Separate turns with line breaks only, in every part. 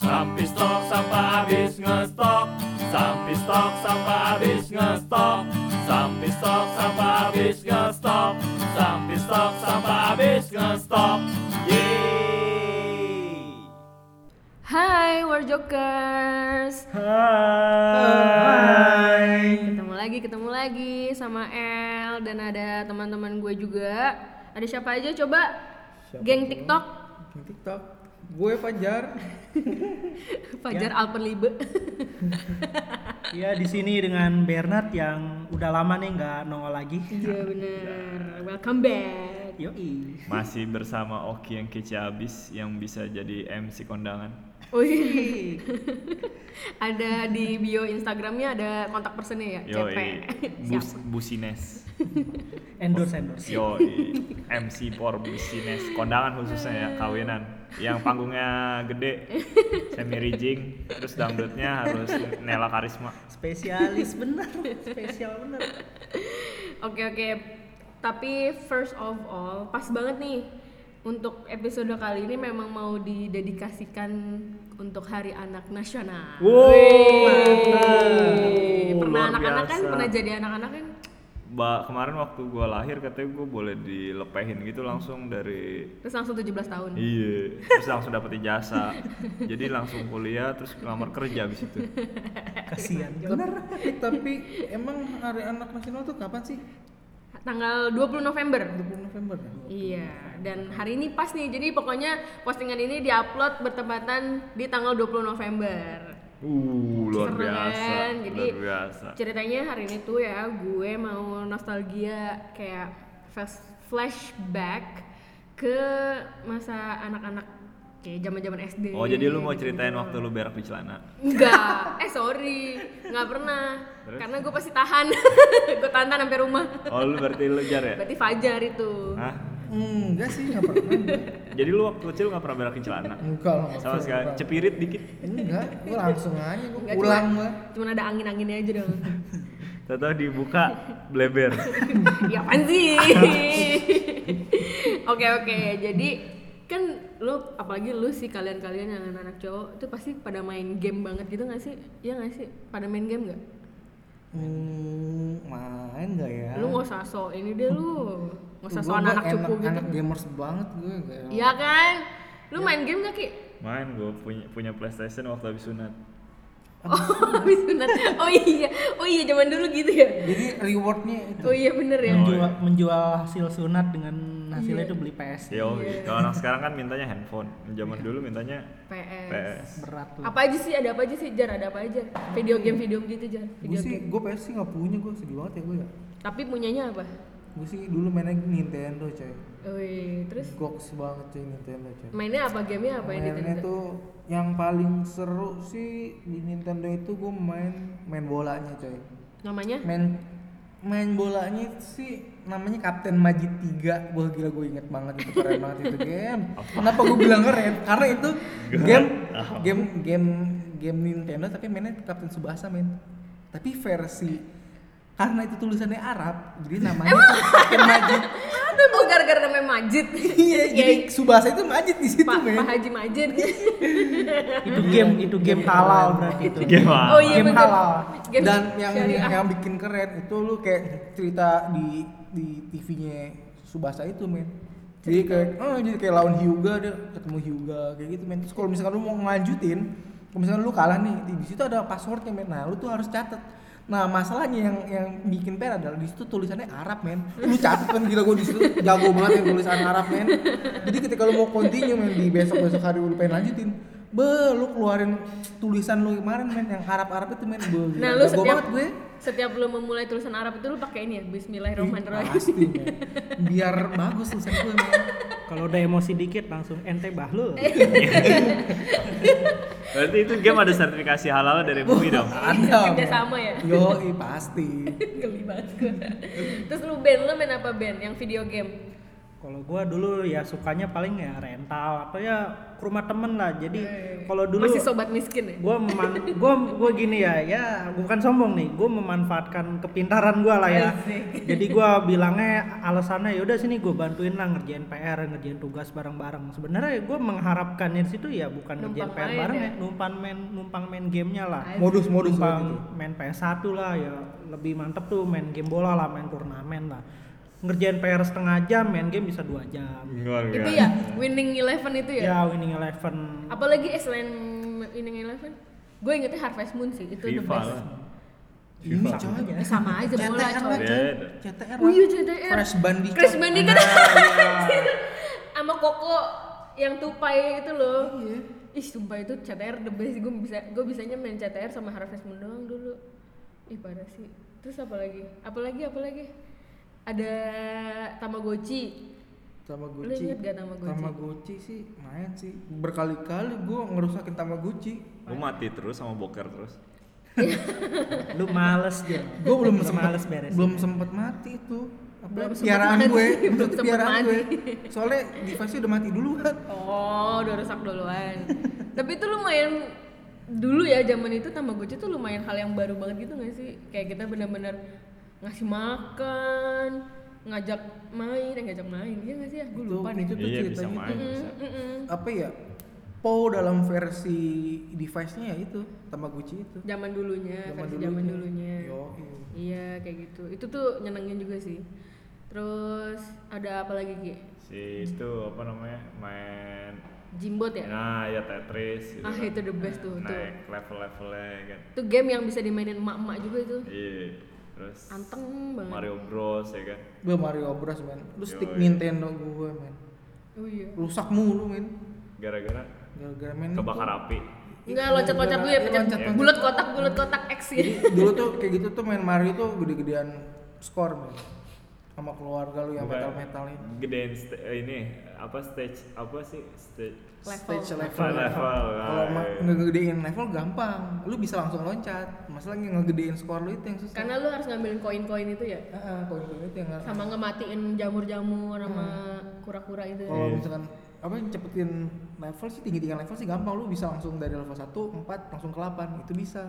Sampai stok sampai habis ngestok Sampai stok sampai habis ngestok Sampai stok sampai habis ngestok Sampai stok sampai habis ngestok Yeay
Hai War Jokers.
Hai.
Ketemu lagi, ketemu lagi sama El dan ada teman-teman gue juga. Ada siapa aja coba?
Siapa
Geng
tuh?
TikTok,
Di TikTok. Gue Fajar.
Fajar Alpenlibe.
Iya di sini dengan Bernard yang udah lama nih nggak nongol lagi.
Iya bener. Welcome back.
Yoi.
Masih bersama Oki yang kece abis yang bisa jadi MC kondangan.
Wih. ada di bio Instagramnya ada kontak personnya ya, CP.
Yoi, Bus,
Siapa?
Busines.
Endorse endorse.
Yoi, MC por Busines. Kondangan khususnya ya, kawinan. Yang panggungnya gede, semi rijing, terus dangdutnya harus Nela Karisma.
Spesialis bener. Spesial bener.
Oke oke. Tapi first of all, pas banget nih untuk episode kali ini memang mau didedikasikan untuk Hari Anak Nasional.
Wow,
Wih.
mantap.
Pernah
Luar
anak-anak kan,
biasa.
pernah jadi anak-anak kan?
Ba kemarin waktu gua lahir katanya gua boleh dilepehin gitu langsung dari
Terus langsung 17 tahun.
Iya, terus langsung dapet ijazah. Jadi langsung kuliah terus ngelamar kerja abis itu.
Kasian.
Bener. Tapi emang hari anak nasional tuh kapan sih?
Tanggal 20 November.
20 November. kan?
Iya, dan hari ini pas nih. Jadi pokoknya postingan ini diupload bertepatan di tanggal 20 November.
Uh, luar
Seru
biasa.
kan? Jadi
luar biasa.
ceritanya hari ini tuh ya gue mau nostalgia kayak flash- flashback ke masa anak-anak kayak zaman-zaman SD.
Oh, jadi lu mau ceritain waktu lu berak di celana?
Enggak, eh sorry, nggak pernah. Karena gue pasti tahan, gue tahan sampai rumah.
Oh, lu berarti lu jar ya?
Berarti Fajar itu.
Hah?
Hmm, enggak sih, enggak pernah. gue.
Jadi lu waktu kecil gak pernah berak di celana?
Enggak lah. enggak
Sama
pernah.
sekali, cepirit dikit.
Enggak, gue langsung aja gue
Enggak,
pulang
cuma-
Ah.
lah.
Cuman ada angin-anginnya aja dong.
Tahu dibuka bleber.
ya apaan sih? Oke oke, jadi kan lu apalagi lu sih kalian-kalian yang anak cowok tuh pasti pada main game banget gitu gak sih? Iya gak sih? Pada main game gak?
Hmm, main enggak ya?
Lu gak usah so ini deh lu Gak usah so
Gua- gua
anak-anak cupu
anak-
gitu
Anak gamers banget gue enggak.
Iya kan? Lu
Ya.
main game gak Ki?
Main gue punya punya PlayStation waktu habis sunat.
Oh habis sunat. Oh iya, oh iya zaman dulu gitu ya?
Jadi rewardnya itu
Oh iya bener ya?
Menjual, menjual hasil sunat dengan hasilnya
Iya.
itu beli PS.
Yo, Ya, oh, kalau anak sekarang kan mintanya handphone. Zaman dulu mintanya
PS
PS.
Berat lah.
Apa aja sih? Ada apa aja sih? Jar ada apa aja? Video game-video game gitu Jar?
gue
Video
sih
game.
gue PS sih nggak punya gue sedih banget ya gue ya
Tapi punyanya apa?
gue sih dulu mainnya Nintendo coy
Wih, terus
goks banget coy Nintendo coy
mainnya apa gamenya apa yang
mainnya
ditendang
tuh yang paling seru sih di Nintendo itu gue main main bolanya coy
namanya
main main bolanya sih namanya Kapten Majid 3 wah gila gue inget banget itu keren banget itu game kenapa gue bilang keren karena itu game game game game Nintendo tapi mainnya Kapten Subasa main tapi versi karena itu tulisannya Arab jadi namanya
Iya,
Kapten Majid
ada oh gara-gara namanya Majid Ya,
iya jadi Subasa itu Majid di situ
Pak Pak
men
Haji Majid
Itu game itu game halal berarti itu.
Gimana?
oh iya
Game
bener
halal.
Game
dan yang
syariah.
yang bikin keren itu lu kayak cerita di di TV-nya Subasa itu men jadi kayak oh jadi kayak lawan Hyuga deh ketemu Hyuga kayak gitu men terus kalau misalkan lu mau ngelanjutin kalau misalkan lu kalah nih di di situ ada passwordnya men nah lu tuh harus catat nah masalahnya yang yang bikin PR adalah di situ tulisannya Arab men lu catat kan gila gue di situ jago banget yang tulisan Arab men jadi ketika lu mau continue men di besok besok hari lu pengen lanjutin Be, lu keluarin tulisan lu kemarin men yang Arab-Arab itu men be,
nah
gila,
lu
jago
setiap
banget gue
setiap lu memulai tulisan Arab itu lu pakai ini ya
Ih,
Bismillahirrahmanirrahim
Pasti, men. biar bagus tulisan gue. men.
Kalau udah emosi dikit langsung ente bahlul.
Berarti itu game ada sertifikasi halal dari MUI dong.
Ada.
Kerjasama ya?
Yo, pasti.
geli banget gue terus lu band lu main apa band yang video game
Kalau gua dulu ya sukanya paling ya rental atau ya ke rumah temen lah. Jadi
Iya,
kalau dulu
masih sobat miskin ya
gue meman gue gue gini ya ya gua bukan sombong nih gue memanfaatkan kepintaran gue lah ya
Asik.
jadi gue bilangnya alasannya yaudah sini gue bantuin lah ngerjain PR ngerjain tugas bareng-bareng sebenarnya gue mengharapkannya di situ ya bukan ngerjain
Numpang
PR
main
bareng
ya?
ya numpang main numpang main gamenya lah
Asik.
modus-modus
numpang
gitu.
main PS1 lah ya lebih mantep tuh main game bola lah main turnamen lah ngerjain PR setengah jam main game bisa dua jam
Iya.
itu ya winning eleven itu
Iya.
ya,
ya winning eleven
apalagi eh, selain winning eleven gue ingetnya harvest moon sih itu the
FIFA
best
lah.
Ini
FIFA.
coy.
Eh, sama aja bola
CTR lah
coy
coy.
Beda.
CTR
oh
lah.
iya CTR
Crash Bandicoot.
Crash Bandicoot
Nah, iya.
sama koko yang tupai itu loh
Iya.
Ih sumpah itu CTR the best gue bisa gue bisanya main CTR sama Harvest Moon doang dulu. Ih parah sih. Terus apa lagi? Apa lagi? Apa lagi? Ada Tamagotchi. Lu
Tamagotchi.
inget gak Tamagotchi?
Tamagotchi sih main sih. Berkali-kali gua ngerusakin Tamagotchi.
Lu mati terus sama boker terus.
lu males dia
Gua belum
Lu
sempat
males beres
belum sempat mati itu.
Belum
Apa
sempet
piaraan
mati,
gue?
belum
Maksud
sempet
piaraan
mati.
gue. Soalnya device-nya udah mati dulu kan.
Oh, udah rusak duluan. Tapi itu lumayan dulu ya zaman itu Tamagotchi tuh lumayan hal yang baru banget gitu gak sih? Kayak kita bener-bener ngasih makan, ngajak main, eh, ngajak main. Iya gak sih ya? Gue
Itu,
lupa deh.
itu tuh
Iya, bisa
gitu ceritanya
main.
tuh,
Mm, mm, mm.
apa ya? Po dalam versi device-nya ya itu, Tamagotchi itu.
Zaman dulunya, versi zaman dulunya.
Yo,
Iya kayak gitu. Itu tuh nyenengin juga sih. Terus ada apa lagi Ki?
Si itu apa namanya? Main
Jimbot ya?
Nah, ya Tetris gitu
Ah,
kan.
itu the best tuh, tuh.
Naik level-levelnya kan.
Itu game yang bisa dimainin emak-emak juga itu.
Iya. Terus
Anteng banget.
Mario Bros ya kan.
Gue Mario Bros men, lu stick
Yoi.
Nintendo gue men,
Oh iya.
rusak mulu men,
Gara-gara
gara-gara men.
kebakar api.
Enggak loncat-loncat dulu ya,
Iya,
pencet
loncat-loncat.
bulat kotak, bulat kotak X gitu.
Dulu tuh kayak gitu tuh main Mario tuh gede-gedean skor men, sama keluarga lu yang
Bukan.
metal-metalin.
Gedein st- eh, ini apa stage apa sih stage
Level.
Stage level.
Level,
Kalau
nah,
ma-
iya.
ngegedein level gampang, lu bisa langsung loncat. Masalahnya ngegedein skor lu itu yang susah.
Karena lu harus ngambilin koin-koin itu ya.
Ah, ah, poin-poin itu yang
Sama ngematiin jamur-jamur sama kura-kura itu.
kalau
Iya.
misalkan apa cepetin level sih tinggi-tinggi level sih gampang lu bisa langsung dari level 1 4 langsung ke 8 itu bisa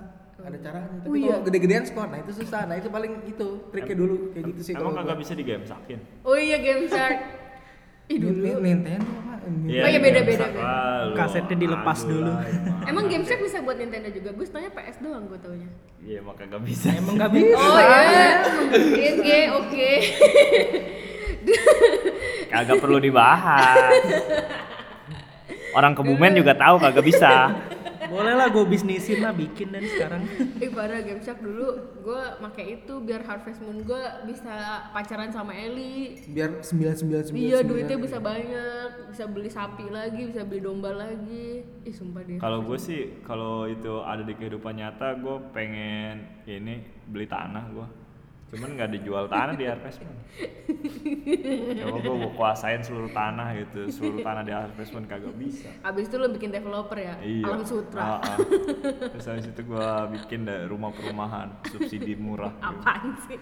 ada caranya tapi
Oh iya.
kalau gede-gedean skor nah itu susah nah itu paling itu triknya dulu kayak gitu sih
Emang
kalau
kagak
gua.
bisa digamsakin?
Oh iya game shark. Ih dulu.
Nin- Nintendo apa?
Iya,
Oh, iya, beda,
digamsak
beda,
lah, lu.
Kasetnya dilepas
Aduh
dulu.
lah, emang.
Emang game shark bisa buat Nintendo juga? Gue tanya PS doang gue taunya.
Iya, emang kagak bisa.
Emang gak bisa.
Oh iya. Oke, oke.
kagak perlu dibahas. Orang kebumen juga tahu kagak bisa.
Boleh lah gue bisnisin lah bikin dan sekarang.
Ih parah game shark dulu gue make itu biar Harvest Moon gue bisa pacaran sama Ellie
biar 999
Iya duitnya bisa banyak, bisa beli sapi lagi, bisa beli domba lagi Ih sumpah deh
Kalau gue sih kalau itu ada di kehidupan nyata gue pengen ini beli tanah gue. Cuman nggak dijual tanah di Harvest Moon. Coba gue kuasain seluruh tanah gitu, seluruh tanah di Harvest Moon kagak bisa.
Abis itu lo bikin developer ya,
Iya.
Alam Sutra
Ah, ah. Terus habis itu gue bikin dah rumah perumahan subsidi murah. gitu.
Apaan sih?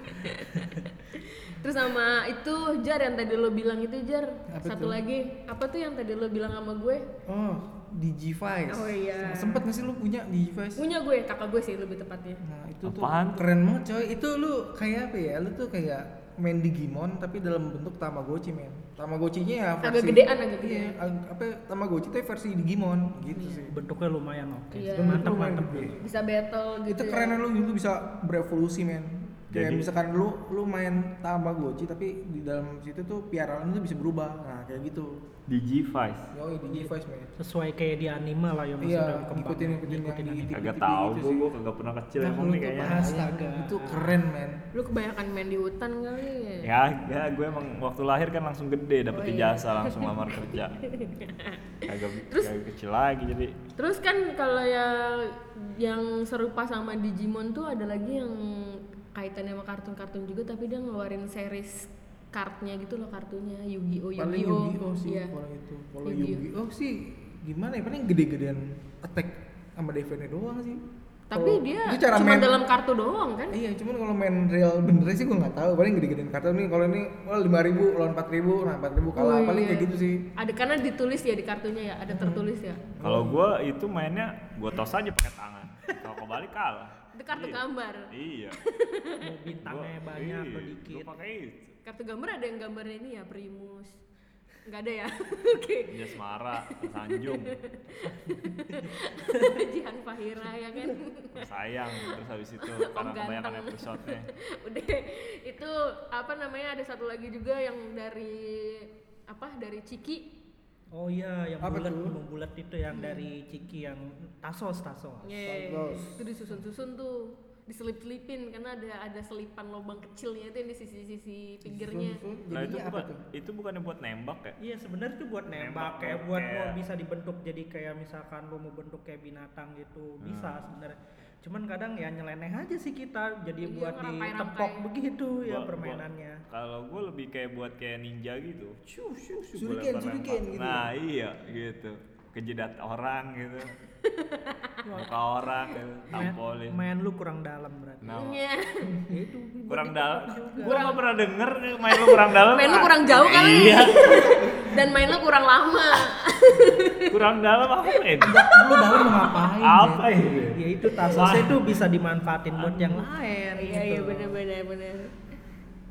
Terus sama itu Jar yang tadi lo bilang itu Jar
Apa
Satu
tuh?
lagi, apa tuh yang tadi lo bilang sama gue?
oh Digivice
Oh, iya.
sempet gak sih lu punya Digivice
Punya gue, kakak gue sih lebih tepatnya
nah itu
Apaan?
tuh keren banget coy itu lu kayak apa ya lu tuh kayak main Digimon tapi dalam bentuk Tamagotchi men Tamagotchi-nya ya
Agak
versi-
gedean, gitu ya. agak gedean.
iya, ag- apa Tamagotchi itu versi Digimon gitu sih
Bentuknya lumayan oke.
Iya.
Mantap mantap.
Bisa battle gitu
itu
ya.
keren lu lu bisa berevolusi men kayak
Jadi-
misalkan lu lu main Tamagotchi tapi di dalam situ tuh piaraan lu bisa berubah nah kayak gitu
Digivice.
yoi Digivice men
Sesuai kayak di anime lah yang masih
Iya,
dalam kembang.
ngikutin- ngikutin yang
Ngikutin
di-
anime.
Kagak
Tipe-tipe
tahu
gitu
gue,
sih.
gue kagak pernah kecil
Nah,
emang
lu
nih
tuh
kayaknya.
astaga itu keren men
Lu kebanyakan main di hutan kali ya?
Ya, ya gue emang waktu lahir kan langsung gede dapet
Oh, iya.
ijazah langsung lamar kerja.
Iya.
Kagak kagak kecil lagi jadi
Terus kan kalau ya yang serupa sama Digimon tuh ada lagi yang kaitannya sama kartun-kartun juga tapi dia ngeluarin series kartnya gitu loh kartunya Yu-Gi-Oh
paling
Yu-Gi-Oh.
Yu-Gi-Oh sih
Iya.
kalau itu kalau
Yu-Gi-Oh.
Yu-Gi-Oh sih gimana ya paling gede-gedean attack sama defense doang sih
Tapi
Kalau-
dia,
dia cara
cuma
main-
dalam kartu doang kan?
Iya, cuman kalau main real bener sih gue nggak tahu. Paling gede-gedein kartu nih. Kalau ini oh, 5 ribu lawan 4 ribu, nah 4 ribu kalah.
Oh,
Paling
iya.
kayak gitu sih. Hmm.
Ada karena ditulis ya di kartunya ya, ada tertulis ya.
Kalau gua itu mainnya gua tos aja pakai tangan. Kalau kebalik kalah.
Itu kartu
Iya.
gambar.
Iya.
mau bintangnya
Gua-
banyak
iya,
atau
Gua
Gitu.
dikit
pakai itu.
Kartu gambar ada yang gambarnya ini ya, primus. Enggak ada ya. Oke.
Jas Mara, Sanjung,
Jihan Fahira ya kan.
sayang terus habis itu
Om
karena kebanyakan
ganteng.
episode-nya.
Udah itu apa namanya ada satu lagi juga yang dari apa dari Ciki.
oh iya yang
Apa
bulat
tuh?
mau bulat itu yang dari Ciki yang tasos tasos
Iya.
Ye,
Bagus.
Itu disusun-susun tuh, diselip-selipin karena ada ada selipan lubang kecilnya itu yang di sisi-sisi pinggirnya.
Susun, susun,
Nah itu
Jadinya apa
bukan
tuh?
itu bukannya buat nembak ya?
Iya sebenarnya tuh buat nembak,
Nembak,
kayak
kayak-
buat mau
kayak-
bisa dibentuk jadi kayak misalkan lu mau bentuk kayak binatang
Hmm.
gitu bisa sebenarnya. Cuman kadang ya nyeleneh aja sih kita jadi
Iya,
buat
ngerapai-rapai.
ditepok begitu ya
Gua- gua-
permainannya.
Kalau gue lebih kayak buat kayak ninja gitu. Shoo, shoo, shoo, gua
Shuriken,
lempar-lempar.
shuriken gitu.
Nah iya gitu. Kejedat orang gitu. Muka orang gitu.
Main,
Tampolin.
main lu kurang dalam berarti.
Nah,
Iya.
Itu
kurang dalam. Gue gak pernah denger main lu kurang dalam.
gitu Main lu
ah.
kurang jauh kali.
Iya.
Dan mainnya kurang lama.
Kurang dalam apa main?
lu dalam mau ngapain?
apa
ya?
itu?
Ya itu tasosnya itu bisa dimanfaatin buat yang lain.
Iya
gitu.
iya benar benar benar.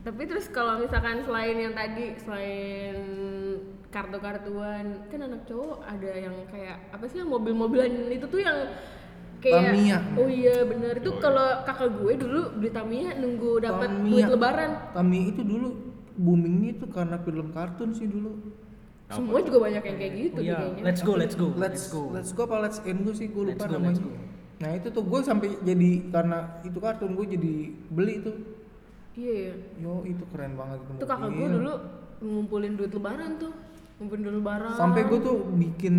Tapi terus kalau misalkan selain yang tadi selain kartu-kartuan kan anak cowok ada yang kayak apa sih yang mobil-mobilan itu tuh yang kayak
Tamiya.
oh iya bener itu kalau kakak gue dulu beli Tamiya nunggu dapat
Tamiya.
duit lebaran
Tami itu dulu boomingnya itu karena film kartun sih dulu.
semua juga banyak yang kayak gitu
Oh,
deh
iya,
kayaknya
let's go, let's go,
Let's go. Let's go apa let's end gue sih gue lupa
Let's go, let's
namanya.
go.
Nah itu tuh gue sampai jadi karena itu kartun gue jadi beli tuh.
iya iya
Yo itu keren banget
itu kakak gue
mobil.
dulu ngumpulin duit lebaran tuh ngumpulin duit lebaran
Sampai gue tuh bikin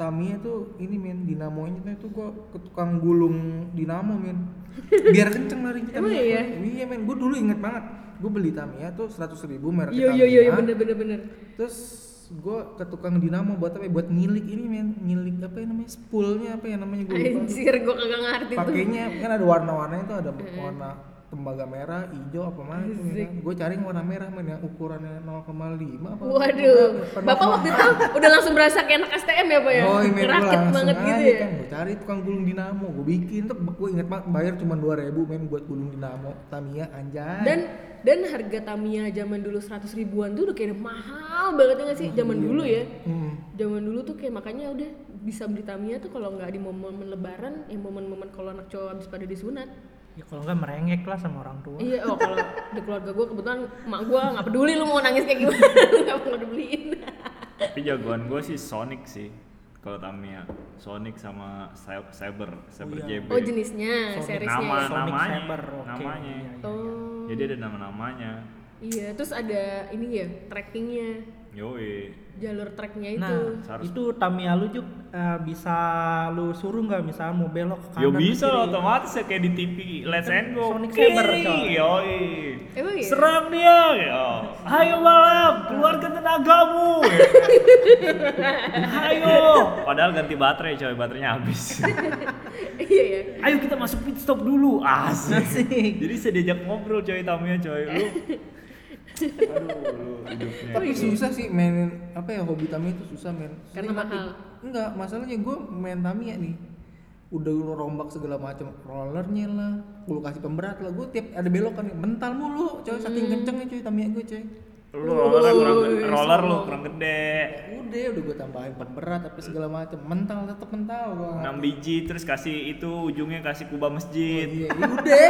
Tamiya tuh ini men dinamonya tuh gue ke tukang gulung dinamo men. Biar kenceng larinya.
Emang
Tamiya.
iya?
Iya men gue dulu inget banget. Gue beli Tamiya tuh seratus ribu merek
iya iya iya bener bener bener
Terus gue ke tukang dinamo buat apa? ya? Buat ngilik ini men, ngilik apa ya namanya? Spoolnya apa ya namanya gue lupa.
anjir gue kagak ngerti tuh
pakainya kan ada warna-warnanya itu ada warna tembaga merah, hijau apa mana itu
Asik.
Gue cari yang warna merah men yang ukurannya 0,5 apa.
Waduh,
berapa?
bapak waktu itu udah langsung berasa kayak anak STM ya pak ya,
Oh,
ngerakit banget gitu ya.
Kan gue cari tukang gulung dinamo, gue bikin tuh gue inget banget bayar cuma 2000 men buat gulung dinamo Tamiya anjay.
Dan dan harga Tamiya zaman dulu 100 ribuan tuh udah kayak udah mahal banget ya nggak sih zaman dulu ya.
Hmm.
Zaman dulu tuh kayak makanya udah bisa beli Tamiya tuh kalau nggak di momen lebaran, ya momen-momen kalau anak cowok habis pada disunat.
Ya kalau nggak merengek lah sama orang tua.
Iya, oh kalau di keluarga gue kebetulan emak gue nggak peduli lu mau nangis kayak gimana, nggak mau dibeliin.
Tapi jagoan gue sih Sonic sih. Kalau Tamiya, Sonic sama Cy- Cyber, Cyber
iya.
JB.
Oh jenisnya,
Sonic
seriesnya.
nama
ya?
Sonic
namanya,
Cyber, oke.
namanya.
Iya, iya.
Oh
Jadi ada nama-namanya.
iya, terus ada ini ya trackingnya.
Yoi.
jalur treknya itu
Nah,
Harus-
itu Tamiya lu Juk, eh, bisa lu suruh nggak misalnya mau belok ke kanan?
Yo
ke
Ya, bisa
kiri?
lah otomatis ya kayak di TV Let's and Go.
Sonic
Kiri,
Saber, coy.
Yoi.
Emang iya?
Serang dia. Yo. Ayo balap, keluarkan tenagamu. Ayo. Padahal ganti baterai coy, baterainya habis.
iya ya
Ayo kita masuk pit stop dulu. Asik.
Asik.
Jadi saya diajak ngobrol coy Tamiya coy. Lu Aduh, lu hidupnya.
Tapi susah sih mainin apa ya hobi Tamiya itu susah men.
Karena
Sering
mahal.
mati. Enggak, masalahnya gue main Tamiya nih. Udah lu rombak segala macam rollernya lah, lu kasih pemberat lah. Gue tiap ada belokan nih, mental mulu, coy
Hmm.
saking kencengnya coy Tamiya gue coy.
Lu roller kurang,
iya,
roller lu kurang gede.
Udah, udah gue tambahin pemberat tapi segala macam, mental tetap mental gue.
6 biji terus kasih itu ujungnya kasih kubah masjid.
Iya, iya, udah.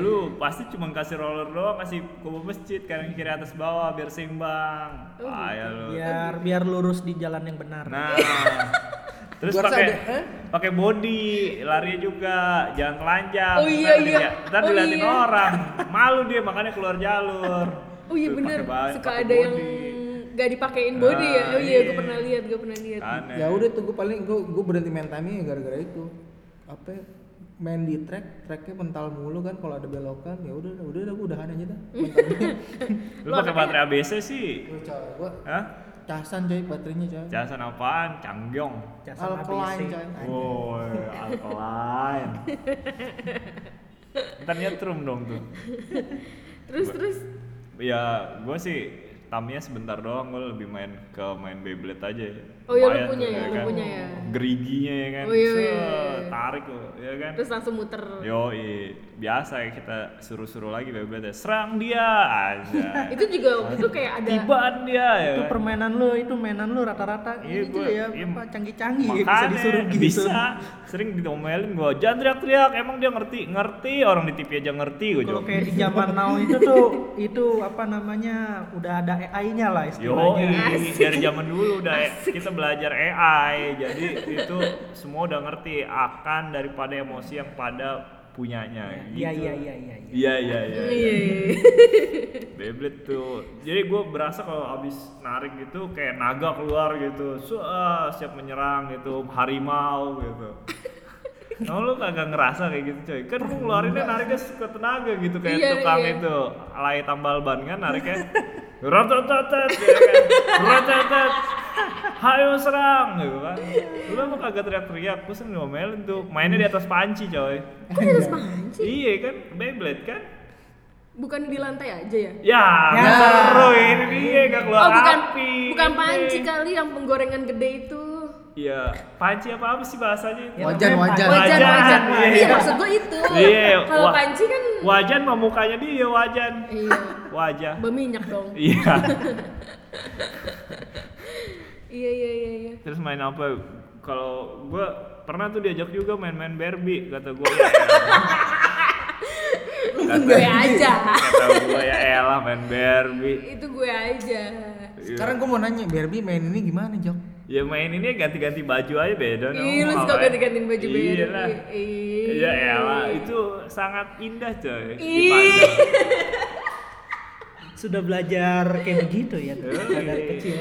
Lu pasti cuma kasih roller doang, kasih kubu masjid kanan kiri atas bawah biar seimbang.
Oh, gitu.
Payah lu.
Iya.
biar biar lurus di jalan yang benar.
Nah. Terus
Gua rasa
pakai
ada, eh?
pakai body, larinya juga jangan telanjang.
Oh iya, iya.
Ntar dilihat- Ntar
Oh
diliatin
iya.
orang, malu dia makanya keluar jalur.
oh iya
Terus
bener
pakai ba-
suka
pakai
ada yang
body.
gak dipakein body ya oh
Ah,
iya gue
iya. Kan?
pernah lihat gue pernah lihat
Aneh.
ya udah tuh gue paling gue gue berhenti main Tamiya gara-gara itu. Apa ya, main di track, tracknya mental mulu kan kalau ada belokan ya udah udah udah gue udahan aja dah. Mental
Lu pakai baterai ABC sih.
Lu coba, gua
Hah?
casan coy baterainya coy
Jason apaan? Canggyong.
Jasa ABC.
alkaline coy
Woi, alkaline. Ntar nyetrum dong tuh.
terus terus
Ya, gue sih tamnya sebentar doang, gue lebih main ke main Beyblade aja.
Oh iya, lu
Lumayan
punya
tuh, kan?
ya, lu punya ya.
Geriginya ya kan.
Oh iya,
Set,
iya, iya.
Tarik lo, ya kan.
terus langsung muter
Yo, biasa ya kita suruh-suruh lagi Beyblade. ya. Serang dia aja.
itu juga waktu itu kayak ada
Tibaan dia ya.
itu
kan?
permainan lu itu mainan lu rata-rata
Iya,
gitu
gua-
ya
iya.
apa canggih-canggih ya,
Makanya
bisa disuruh gitu
bisa. Sering diomelin gua, jangan teriak-teriak. Emang dia ngerti, ngerti. Orang di TV aja ngerti gua.
kalau
jawab.
kayak di zaman now itu tuh itu apa namanya udah ada AI-nya lah
Yo, iya.
istilahnya
dari zaman dulu udah ya. kita belajar AI. Jadi itu semua udah ngerti akan daripada emosi yang pada punyanya.
iya
gitu.
iya iya iya iya.
Iya iya iya.
iya
Beyblade tuh. Jadi gue berasa kalau abis narik gitu kayak naga keluar gitu. So, ah, siap menyerang gitu, harimau gitu. Nah, lu kagak ngerasa kayak gitu coy Kan lu ngeluarinnya nariknya ke tenaga gitu Kayak
Iya,
tukang
iya.
itu Alay tambal ban kan nariknya Rotototet ya kan Rotototet Hayo serang gitu kan
Iya.
Lu emang kagak teriak-teriak Gue sering diomelin tuh Mainnya di atas panci coy
kok di atas panci
Iya kan Beyblade kan
bukan di lantai aja ya
Ya,
Ya.
seru ini dia gak keluar
oh bukan
Iya, api.
bukan panci kali yang penggorengan gede itu
Iya, panci apa apa sih bahasanya?
Ya.
Iya.
itu?
Wajan,
Iya.
Namanya
wajan.
wajan wajan
Iya.
iya maksud gua itu
Iya,
kalau
wa-
panci kan
Wajan mah mukanya dia ya, wajan.
iya
Wajah.
berminyak dong
Iya.
iya iya iya iya
Terus main apa? Kalau gua pernah tuh diajak juga main-main Barbie kata gua.
gue aja
kata gua ya elah main Barbie.
itu gue aja
Iya.
sekarang gue mau nanya Barbie main ini gimana Jok?
Ya main ini ganti-ganti baju aja beda dong.
Ih, lu suka
ngapain.
ganti-gantiin baju
ya? Iya
beda.
lah.
Ih.
Ya elah, itu sangat indah coy.
Ih.
dipandang.
sudah belajar kayak begitu ya
Iya.
dari kecil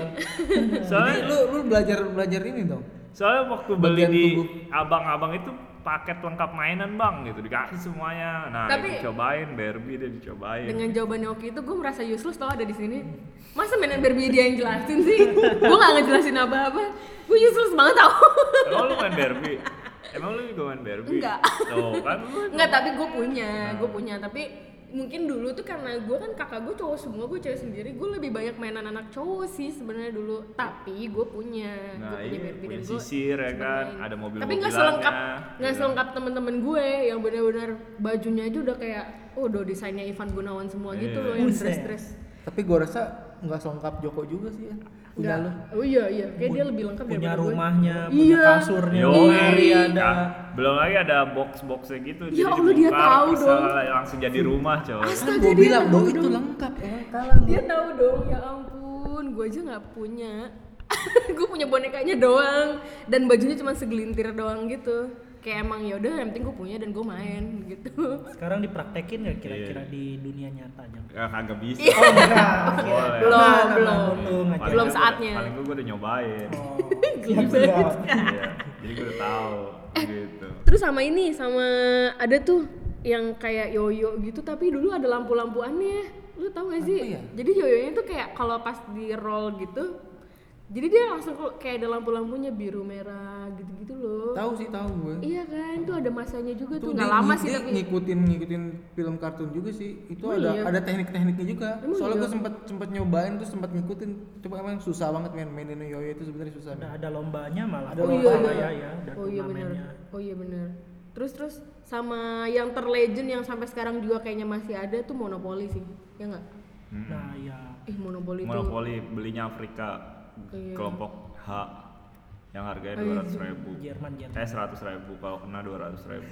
Soalnya,
Jadi lu lu belajar belajar ini dong
soalnya waktu beli
Bagian
di
tubuh.
abang-abang itu paket lengkap mainan bang gitu dikasih semuanya. Nah
Tapi-
dicobain Barbie dia dicobain.
dengan jawabannya Oki itu gue merasa useless tau ada di sini masa mainan Barbie dia yang jelasin sih gue gak ngejelasin apa-apa gue useless banget tau
Emang lu main Barbie? Emang lu juga main Barbie?
Enggak.
Tuh kan lu
nggak tapi gue
Hmm.
punya gue punya tapi mungkin dulu tuh karena gue kan kakak gue cowok semua gue cewek sendiri gue lebih banyak mainan anak cowok sih sebenarnya dulu tapi gue punya
Nah,
gue punya
iya,
Barbie
punya
dan gue
sisir ya
sempet
kan,
main. tapi
ada
nggak
mobil-mobilannya,
selengkap nggak
gitu.
selengkap temen-temen gue yang benar-benar bajunya aja udah kayak oh do desainnya Ivan Gunawan semua gitu
Iya.
loh yang
Buset.
dress-dress
tapi gue rasa nggak selengkap Joko juga sih ya punya lu
Enggak. Oh iya iya, kayak dia lebih lengkap
punya
daripada gue.
rumahnya
Iya.
punya kasurnya
Yo,
lemari ada
Ya, belum lagi ada box-boxnya gitu.
Ya
jadi
Allah, dia
dibongkar,
tahu dong.
salah, Langsung jadi rumah coy.
kan
Astaga,
gue
dia Iya,
bilang
tahu
dong itu
dong.
lengkap ya." emang kalah lu.
Dia tahu dong, ya ampun, gue aja nggak punya. gue punya bonekanya doang dan bajunya cuma segelintir doang gitu. Kayak emang ya udah yang penting gue punya dan gue main gitu.
sekarang dipraktekin nggak kira-kira
Iya.
di dunia nyatanya
Ya, kagak bisa.
oh enggak
Boleh.
Belum,
Nah, nah,
belum.
nah, belum aja.
Paling
Belum
gua-
saatnya. Gitu.
Paling gue udah nyobain.
Iya, benar.
Iya, jadi gue udah tahu gitu.
Terus sama ini sama ada tuh yang kayak yoyo gitu tapi dulu ada lampu-lampuannya. Lu tau gak sih?
Apa ya?
Jadi yoyonya tuh kayak kalau pas di roll gitu. Jadi dia langsung kelu- kayak ada lampu-lampunya biru merah gitu-gitu loh.
tahu sih tahu gue
Iya kan, tuh ada masanya juga tuh.
Itu
nggak
dia-
lama
dia
sih tapi
ngikutin ngikutin film kartun juga sih itu
Emang
ada
iya?
ada teknik-tekniknya juga
Emang
soalnya
iya?
gue sempet sempet nyobain terus sempet ngikutin coba emang susah banget main mainin yoyo itu sebenarnya susah
Udah
men.
ada lombanya malah
Ada
kalau
lomba.
nggak salah ya, ada
iya, Oh iya benar.
turnamennya.
Oh iya benar. Terus terus sama yang terlegend yang sampai sekarang juga kayaknya masih ada tuh Monopoly sih. Ya enggak?
Hmm.
nah ya
Ih, Monopoly, tuh
Monopoli belinya Afrika
Iya. Oh,
kelompok H yang harganya
Ayo,
dua ratus ribu.
Jerman Jerman
Eh seratus ribu kalau kena dua ratus ribu.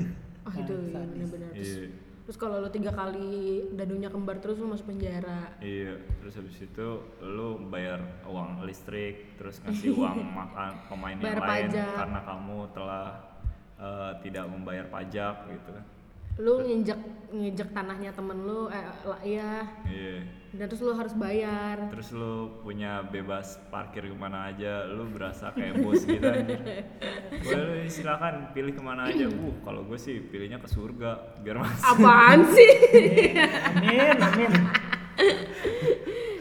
Oh itu iya benar-benar. Terus,
Iya.
terus kalau lo tiga kali dadunya kembar terus lo masuk penjara.
Iya, terus habis itu lu bayar uang listrik, terus ngasih uang makan pemain yang
Bayar
lain
pajak.
karena kamu telah eh, tidak membayar pajak gitu.
Lo nginjek nginjek tanahnya temen lo, eh lah, iya.
Iya.
Dan terus lo harus bayar.
Terus lu punya bebas parkir kemana aja, lu berasa kayak bos gitu anjir. Boleh lu silakan pilih kemana aja. Uh, kalau gue sih pilihnya ke surga, biar masuk.
Apaan sih?
amin amin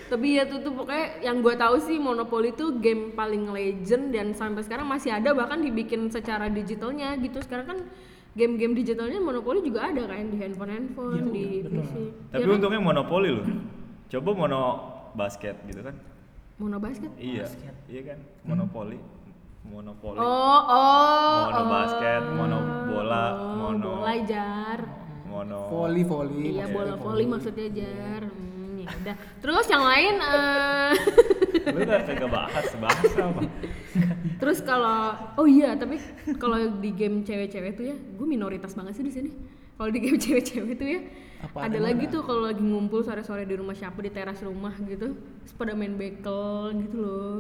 tapi ya tuh, tuh pokoknya yang gue tahu sih Monopoly tuh game paling legend dan sampai sekarang masih ada bahkan dibikin secara digitalnya gitu sekarang kan game-game digitalnya Monopoly juga ada kan di handphone handphone di PC ya
Tapi
kan?
untungnya monopoli loh. Coba mono basket gitu kan.
monobasket
Iya. Iya kan? Monopoli. Monopoli.
oh oh
Mono
oh.
basket, mono bola,
Oh,
mono
bola jar
mono
volley volley
iya
maksudnya.
bola voli maksudnya jar hmm, ya udah terus yang lain eh,
Lu gak kagak bahas bahas apa?
terus kalau oh iya tapi kalau di game cewek-cewek tuh ya gue minoritas banget sih di sini kalau di game cewek-cewek tuh ya
Apa
ada
ada
lagi
mana?
tuh kalau lagi ngumpul sore-sore di rumah siapa di teras rumah gitu terus pada main bekel gitu loh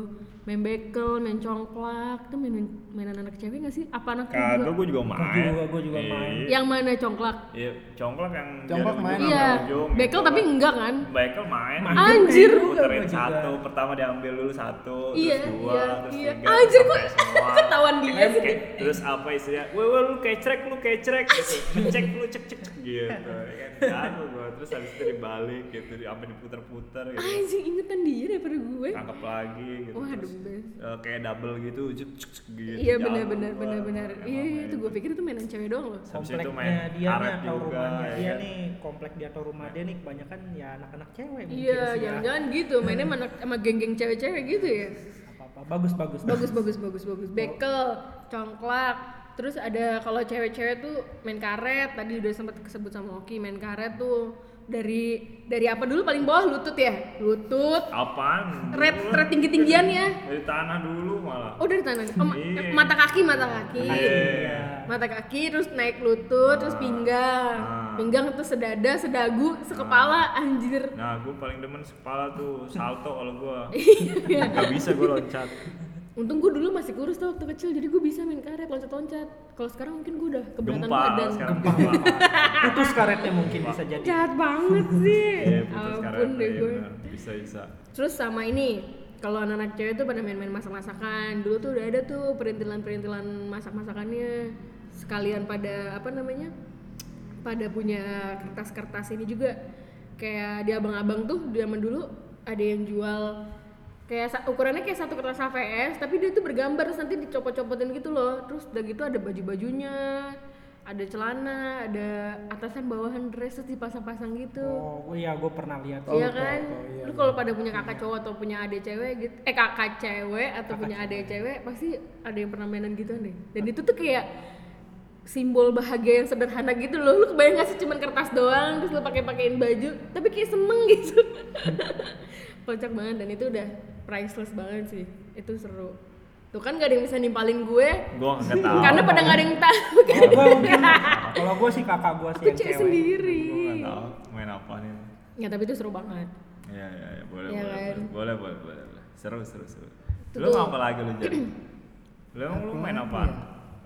main bekel main congklak tuh mainan mainan anak cewek gak sih apa anak lu
Kagak
juga?
gue juga main.
juga- gua juga main.
Iya.
yang mana congklak
Iya, congklak yang
Congklak
dari
main.
ujung
iya
sampai ujung,
bekel
gitu.
tapi enggak kan
Bekel main.
Main.
Anjir.
Gua
Puterin
juga.
satu, pertama diambil dulu satu,
iya
terus dua,
iya
terus
iya
tiga,
anjir kok
sampai semua.
ketahuan dia
Terus
sih
kayak- terus apa istrinya? Weh, weh lu kecrek, lu kecrek gitu. Mencek lu cek cek cek gitu. Ya kan jago gua. Terus habis itu dibalik gitu, di- sampai diputer-puter gitu.
anjir ingetan dia daripada gue
Tangkap lagi gitu.
Waduh,
Terus,
best.
eh, kayak double gitu, cek cek cek gitu.
Iya
jago
benar-benar
gua.
benar-benar.
Emang
Iya iya,
main.
itu gue pikir itu mainan cewek doang loh. Iya,
Habis itu main
kompleknya dia nih
karet
atau
juga,
rumahnya
ya
dia
kan?
nih komplek dia atau rumah dia nih kebanyakan ya anak-anak cewek mungkin
Iya
sih ya.
jangan-jangan gitu mainnya
Hmm.
sama, anak- sama geng-geng cewek-cewek gitu ya.
apa-apa bagus bagus
Bagus bagus bagus bagus. Bekel, congklak. Terus ada kalau cewek-cewek tuh main karet. Tadi udah sempet kesebut sama Oki main karet tuh dari dari apa dulu paling bawah lutut ya lutut
Apaan?
red
Dulu
red tinggi tinggiannya
Dari tanah dulu malah.
oh dari tanah oh, ma-
Iya.
mata kaki mata kaki
Iya.
mata kaki terus naik lutut terus pinggang
Ah.
pinggang terus sedada sedagu sekepala anjir
Nah, gue paling demen kepala tuh salto kalau gue.
Iya.
Gak bisa gue loncat.
untung gue dulu masih kurus tuh waktu kecil jadi gue bisa main karet loncat loncat kalau sekarang mungkin gue udah keberatan
Gempa
badan
sekarang gempa.
putus karetnya mungkin bisa jadi
jahat banget sih
Iya, putus
ampun
sekarang.
deh gue
Bisa bisa.
terus sama ini kalau anak-anak cewek tuh pada main-main masak-masakan dulu tuh udah ada tuh perintilan-perintilan masak-masakannya sekalian pada apa namanya pada punya kertas-kertas ini juga kayak di abang-abang tuh di zaman dulu ada yang jual kayak sa- ukurannya kayak satu kertas HVS tapi dia tuh bergambar terus nanti dicopot-copotin gitu loh terus udah gitu ada baju-bajunya ada celana ada atasan bawahan dress terus dipasang-pasang gitu
oh iya gue pernah lihat sih.
iya
tahu,
kan?
tahu, iya,
Lu kalau pada punya kakak cowok atau punya adik cewek gitu, eh kakak cewek atau punya adik cewek pasti ada yang pernah mainan gitu deh. Dan itu tuh kayak simbol bahagia yang sederhana gitu loh. Lu kebayang gak sih cuman kertas doang terus lu pakai-pakein baju, tapi kayak seneng gitu. Kocak banget dan itu udah priceless banget sih. Itu seru. Tuh kan gak ada yang bisa nimpalin gue
Gue gak tau.
karena pada gak ada yang tahu kan.
kalau gue mungkin kalau gue sih kakak gue sih
Aku
yang
cewek
cewek
sendiri.
Gue gak tau main apa nih.
Ya tapi itu seru banget.
Iya iya iya boleh
Iya
boleh,
kan?
boleh boleh boleh boleh boleh. Seru seru seru.
Tuh,
Lu
tuh.
apa lagi lu jadi? Lu emang lu main apaan?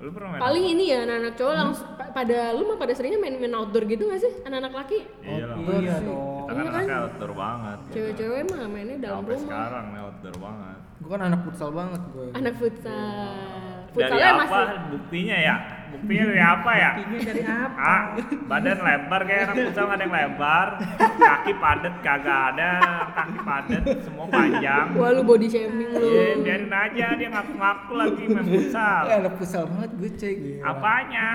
Lu pernah main?
Iya. paling ini ya anak-anak
Hmm?
cowok langsung pa- pada lu mah pada seringnya main-main outdoor gitu gak sih anak-anak laki
apa? Iya lah.
iya dong
Kita kan anaknya outdoor banget. gitu.
cewek-cewek mah mainnya dalam
Ya, Sampai
rumah
sekarang nih outdoor banget.
gue kan anak futsal banget gue
anak futsal
Dari
futsalnya
apa?
masih
Buktinya ya? Buktinya dari apa ya?
Buktinya dari apa
Ah, badan lebar kayak anak futsal nggak ada yang lebar, kaki padet kagak ada, kaki padet semua panjang.
wah lu body shaming lu Eh,
Iya, biarin aja dia ngaku-ngaku lagi main futsal.
Eh, anak futsal banget gue cek
Iya.
gitu
Apanya?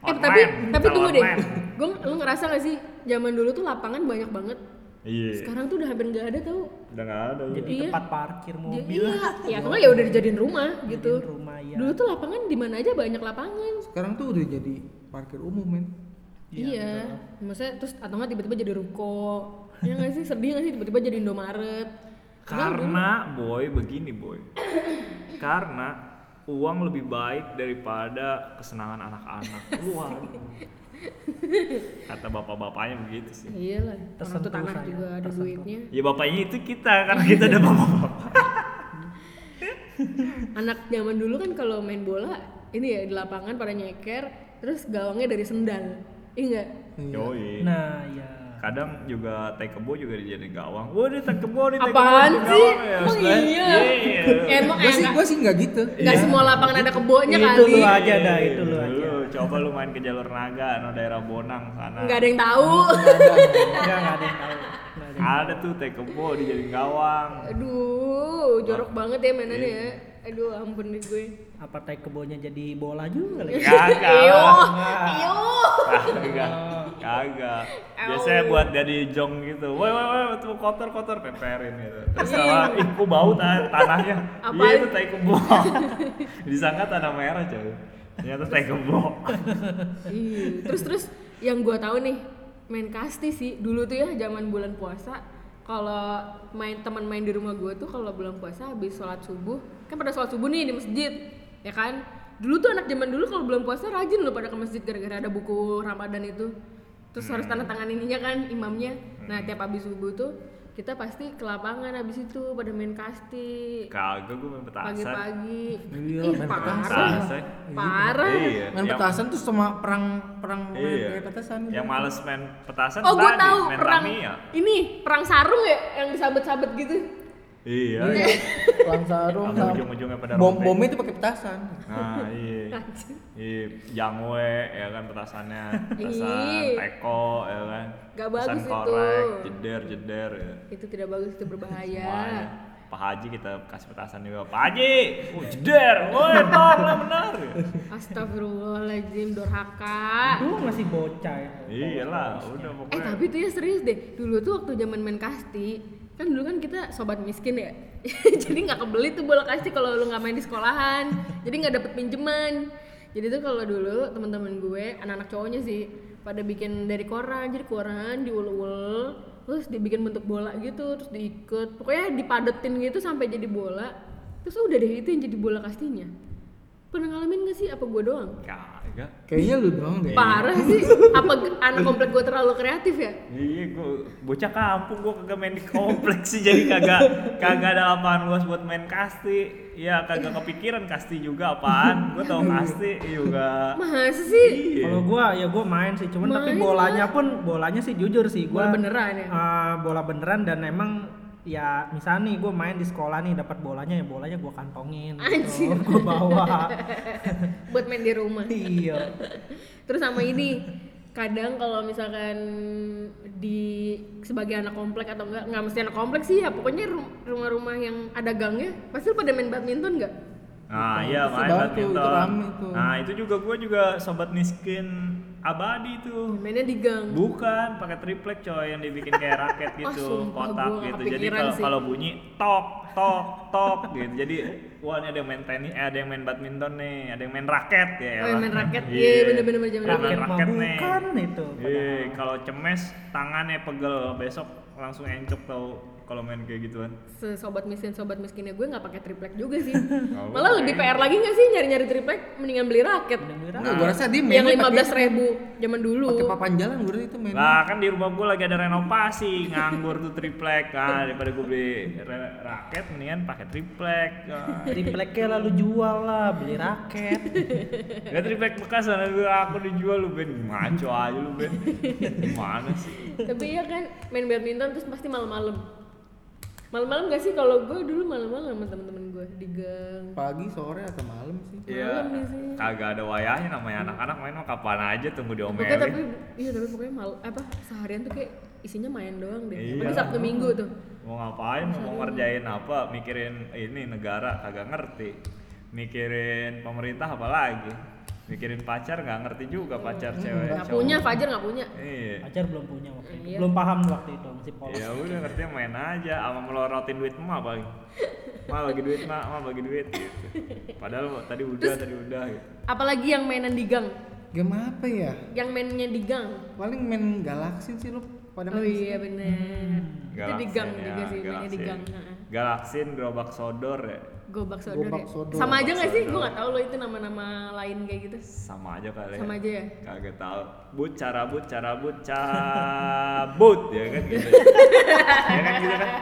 eh tapi tapi tunggu deh gue lu ngerasa gak sih zaman dulu tuh lapangan banyak banget
Iya.
sekarang tuh udah hampir nggak ada tau
Udah nggak ada.
jadi
Iya.
tempat parkir
Dia-
mobil
iya ya karena ya udah dijadiin rumah gitu
Jadiin rumah ya
dulu tuh lapangan di mana aja banyak lapangan
sekarang tuh udah jadi parkir umum men
Iya, maksudnya terus atau nggak tiba-tiba jadi ruko, ya nggak sih sedih nggak sih tiba-tiba jadi Indomaret.
Karena boy begini boy. Karena uang lebih baik daripada kesenangan anak-anak. Waduh. Kata bapak-bapaknya begitu sih.
Iya lah, orang tuh
Tersentuh
tanah
saya,
juga ada
tersentuh.
duitnya.
Ya bapaknya itu kita karena kita ada bapak-bapak.
Anak zaman dulu kan kalau main bola ini ya di lapangan pada nyeker, terus gawangnya dari sendal, iya nggak?
Yoi.
nah ya
kadang juga tekebo juga dijadiin gawang wah ini tekebo nih tekebo
Apaan sih?
jadi gawang ya.
Emang
Setelah-
iya.
Iya.
Emang
gue sih
enak.
gue sih nggak gitu
Nggak semua lapangan ada kebonya
itu
kali.
lu aja dah itu lu aja
Lu, coba lu main ke jalur naga no daerah bonang sana
Nggak ada yang tahu.
Nah.
Nggak ada.
enggak enggak ada yang tahu Nah, Nggak ada
Ada tuh tekebo di jadi gawang.
Aduh, jorok banget ya mainannya ya. Aduh, ampun deh gue.
apa taekwondo jadi bola juga lagi
Kagak.
Iyo,
lah.
iyo.
Kagak. Kagak. Biasanya
Au.
buat jadi jong gitu. Woi woi woi tuh kotor-kotor peperin gitu. Terus sama ih kok bau tan- tanahnya.
Iya. Apaan?
Iya itu tai kebo. Disangka tanah merah coy. Ternyata tai kebo.
Ih, Iya. terus terus yang gua tahu nih main kasti sih dulu tuh ya zaman bulan puasa kalau main teman main di rumah gua tuh kalau bulan puasa habis sholat subuh kan pada sholat subuh nih di masjid ya kan dulu tuh anak zaman dulu kalau bulan puasa rajin loh pada ke masjid gara-gara ada buku ramadan itu terus harus tanda tangan ininya kan imamnya nah tiap habis subuh tuh kita pasti ke lapangan habis itu pada main kasti
Kagak gue main petasan.
pagi-pagi
Iya,
ih
main
parah
Petasan.
parah
Iya.
main
yang-
petasan tuh sama perang perang main
Iya.
pakai petasan gitu.
Yang males main petasan
Oh gue
Kan tadi,
tahu
main ya?
perang
Tamiya.
ini perang sarung ya yang disabet-sabet gitu.
Iya. iya.
Iya, perang sarung
Sampai
sama-
ujung-ujungnya pada
bom
robek.
bomnya tuh pakai petasan
Nah, iya. Iya, jangwe ya kan petasannya, petasan
Ih.
teko ya kan.
Gak Iya.
Petasan
bagus itu.
korek, jeder jeder ya.
Itu tidak bagus itu
Ya.
Semuanya.
berbahaya.
Pak Haji kita kasih petasan juga. Pak Haji, oh, jeder, woi entar lah benar.
Astagfirullahaladzim dorhaka.
Aduh masih bocah ya
Iya lah, udah
Eh
pokoknya.
tapi tuh ya serius deh. Dulu tuh waktu zaman main kasti kan dulu kan kita sobat miskin ya. Jadi nggak kebeli tuh bola kasti kalau lu nggak main di sekolahan. Jadi nggak dapet pinjeman. Jadi tuh kalau dulu teman-teman gue anak-anak cowoknya sih pada bikin dari koran. Jadi koran diul-ul terus dibikin bentuk bola gitu terus diikat pokoknya dipadetin gitu sampai jadi bola terus udah deh itu yang jadi bola kastinya pernah ngalamin gak sih apa gue doang
Kagak.
kayaknya lu doang deh
parah sih apa anak komplek gue terlalu kreatif ya
Iya, gue bocah kampung gue kagak main di kompleks sih jadi kagak kagak ada lapangan luas buat main kasti. Iya, kagak kepikiran kasti juga apaan. Gue tau kasti juga.
Masa sih?
Iya.
Kalau gua ya gua main sih, cuman tapi
Main
bolanya pun bolanya sih jujur sih gua
Bola beneran ya?
eh, bola beneran dan emang ya misalnya nih gua main di sekolah nih dapat bolanya ya bolanya gua kantongin
Anjir.
gitu. gua bawa.
Buat main di rumah.
iya.
Terus sama ini, kadang kalau misalkan di sebagai anak komplek atau enggak, nggak mesti anak komplek sih ya, pokoknya ru- rumah-rumah yang ada gangnya, pasti lu pada main badminton nggak?
Nah,
Itu
iya
sih
main
baru tuh,
badminton.
itu rame tuh.
Nah, itu juga gue juga sobat miskin abadi tuh.
Mainnya di gang.
Bukan pakai triplek coy yang dibikin kayak raket
Oh,
gitu,
sumpah,
kotak
gua nggak
gitu. Jadi
kepikiran
kalau
sih.
kalau bunyi tok tok tok gitu. Jadi wah ini ada yang main tenis, eh, ada yang main badminton nih, ada yang main raket ya.
Oh, yang main raket. Iya, bener-bener zaman
Ada yang main
Raket mah
raket nih.
bukan itu.
Iya,
padahal.
kalau cemes tangannya pegel, besok langsung encok tau kalau main kayak gituan.
Sesobat miskin, sobat miskinnya gue nggak pakai triplek juga sih.
gua
Malah lebih PR lagi nggak sih nyari-nyari triplek? Mendingan beli raket.
Enggak, gua rasa
Yang
dia mainnya
lima
pakai-
belas ribu zaman dulu.
pakai papan jalan gue rasa itu main
Lah kan di rumah gue lagi ada renovasi, nganggur tuh triplek kan daripada gue beli ra- raket mendingan pakai triplek. Nah,
Tripleknya ya lalu jual lah, beli raket.
Ya triplek bekas sana gue aku dijual lu Ben, maco aja lu Ben. Gimana sih?
Tapi ya kan main badminton terus pasti malam-malam. Malam-malam gak sih kalau gue dulu malam-malam sama temen-temen gue di gang.
pagi sore atau malam sih
Iya,
Malam biasanya.
kagak ada wayahnya namanya anak-anak main mah kapan aja tunggu
Pokoknya tapi
diomelin.
iya tapi pokoknya mal apa seharian tuh kayak isinya main doang deh.
Iya.
Apalagi Sabtu Minggu tuh.
Mau ngapain, mau ngerjain apa, mikirin ini negara kagak ngerti. Mikirin pemerintah apa lagi? Mikirin pacar nggak ngerti juga pacar cewek.
Gak
cowok.
punya, Fajar gak punya.
Iya.
Pacar belum punya waktu itu.
Iya.
Belum paham waktu itu masih polos.
Ya udah ngerti main aja sama melorotin duit emak paling. Ma bagi duit, ma, ma bagi duit. Gitu. Padahal tadi udah, tadi udah gitu.
Apalagi yang mainan di gang,
game apa ya
yang mainnya di gang.
paling main galaksin sih lu pada
Oh
main
iya bener. Itu di gang
Galaksin
juga
Hmm, ya,
sih, mainnya di gang.
galaksin.
Ha-ha.
Galaksin, gerobak sodor ya.
Gobak sodor, ya?
Gobak sodor.
Sama aja
Gobak
gak sih?
sodor.
Gue gak tau lo itu nama-nama lain kayak gitu.
Sama aja kali
Sama aja ya?
Kagak tahu. But, carabut, carabut, cabut ya kan gitu. ya kan gitu kan.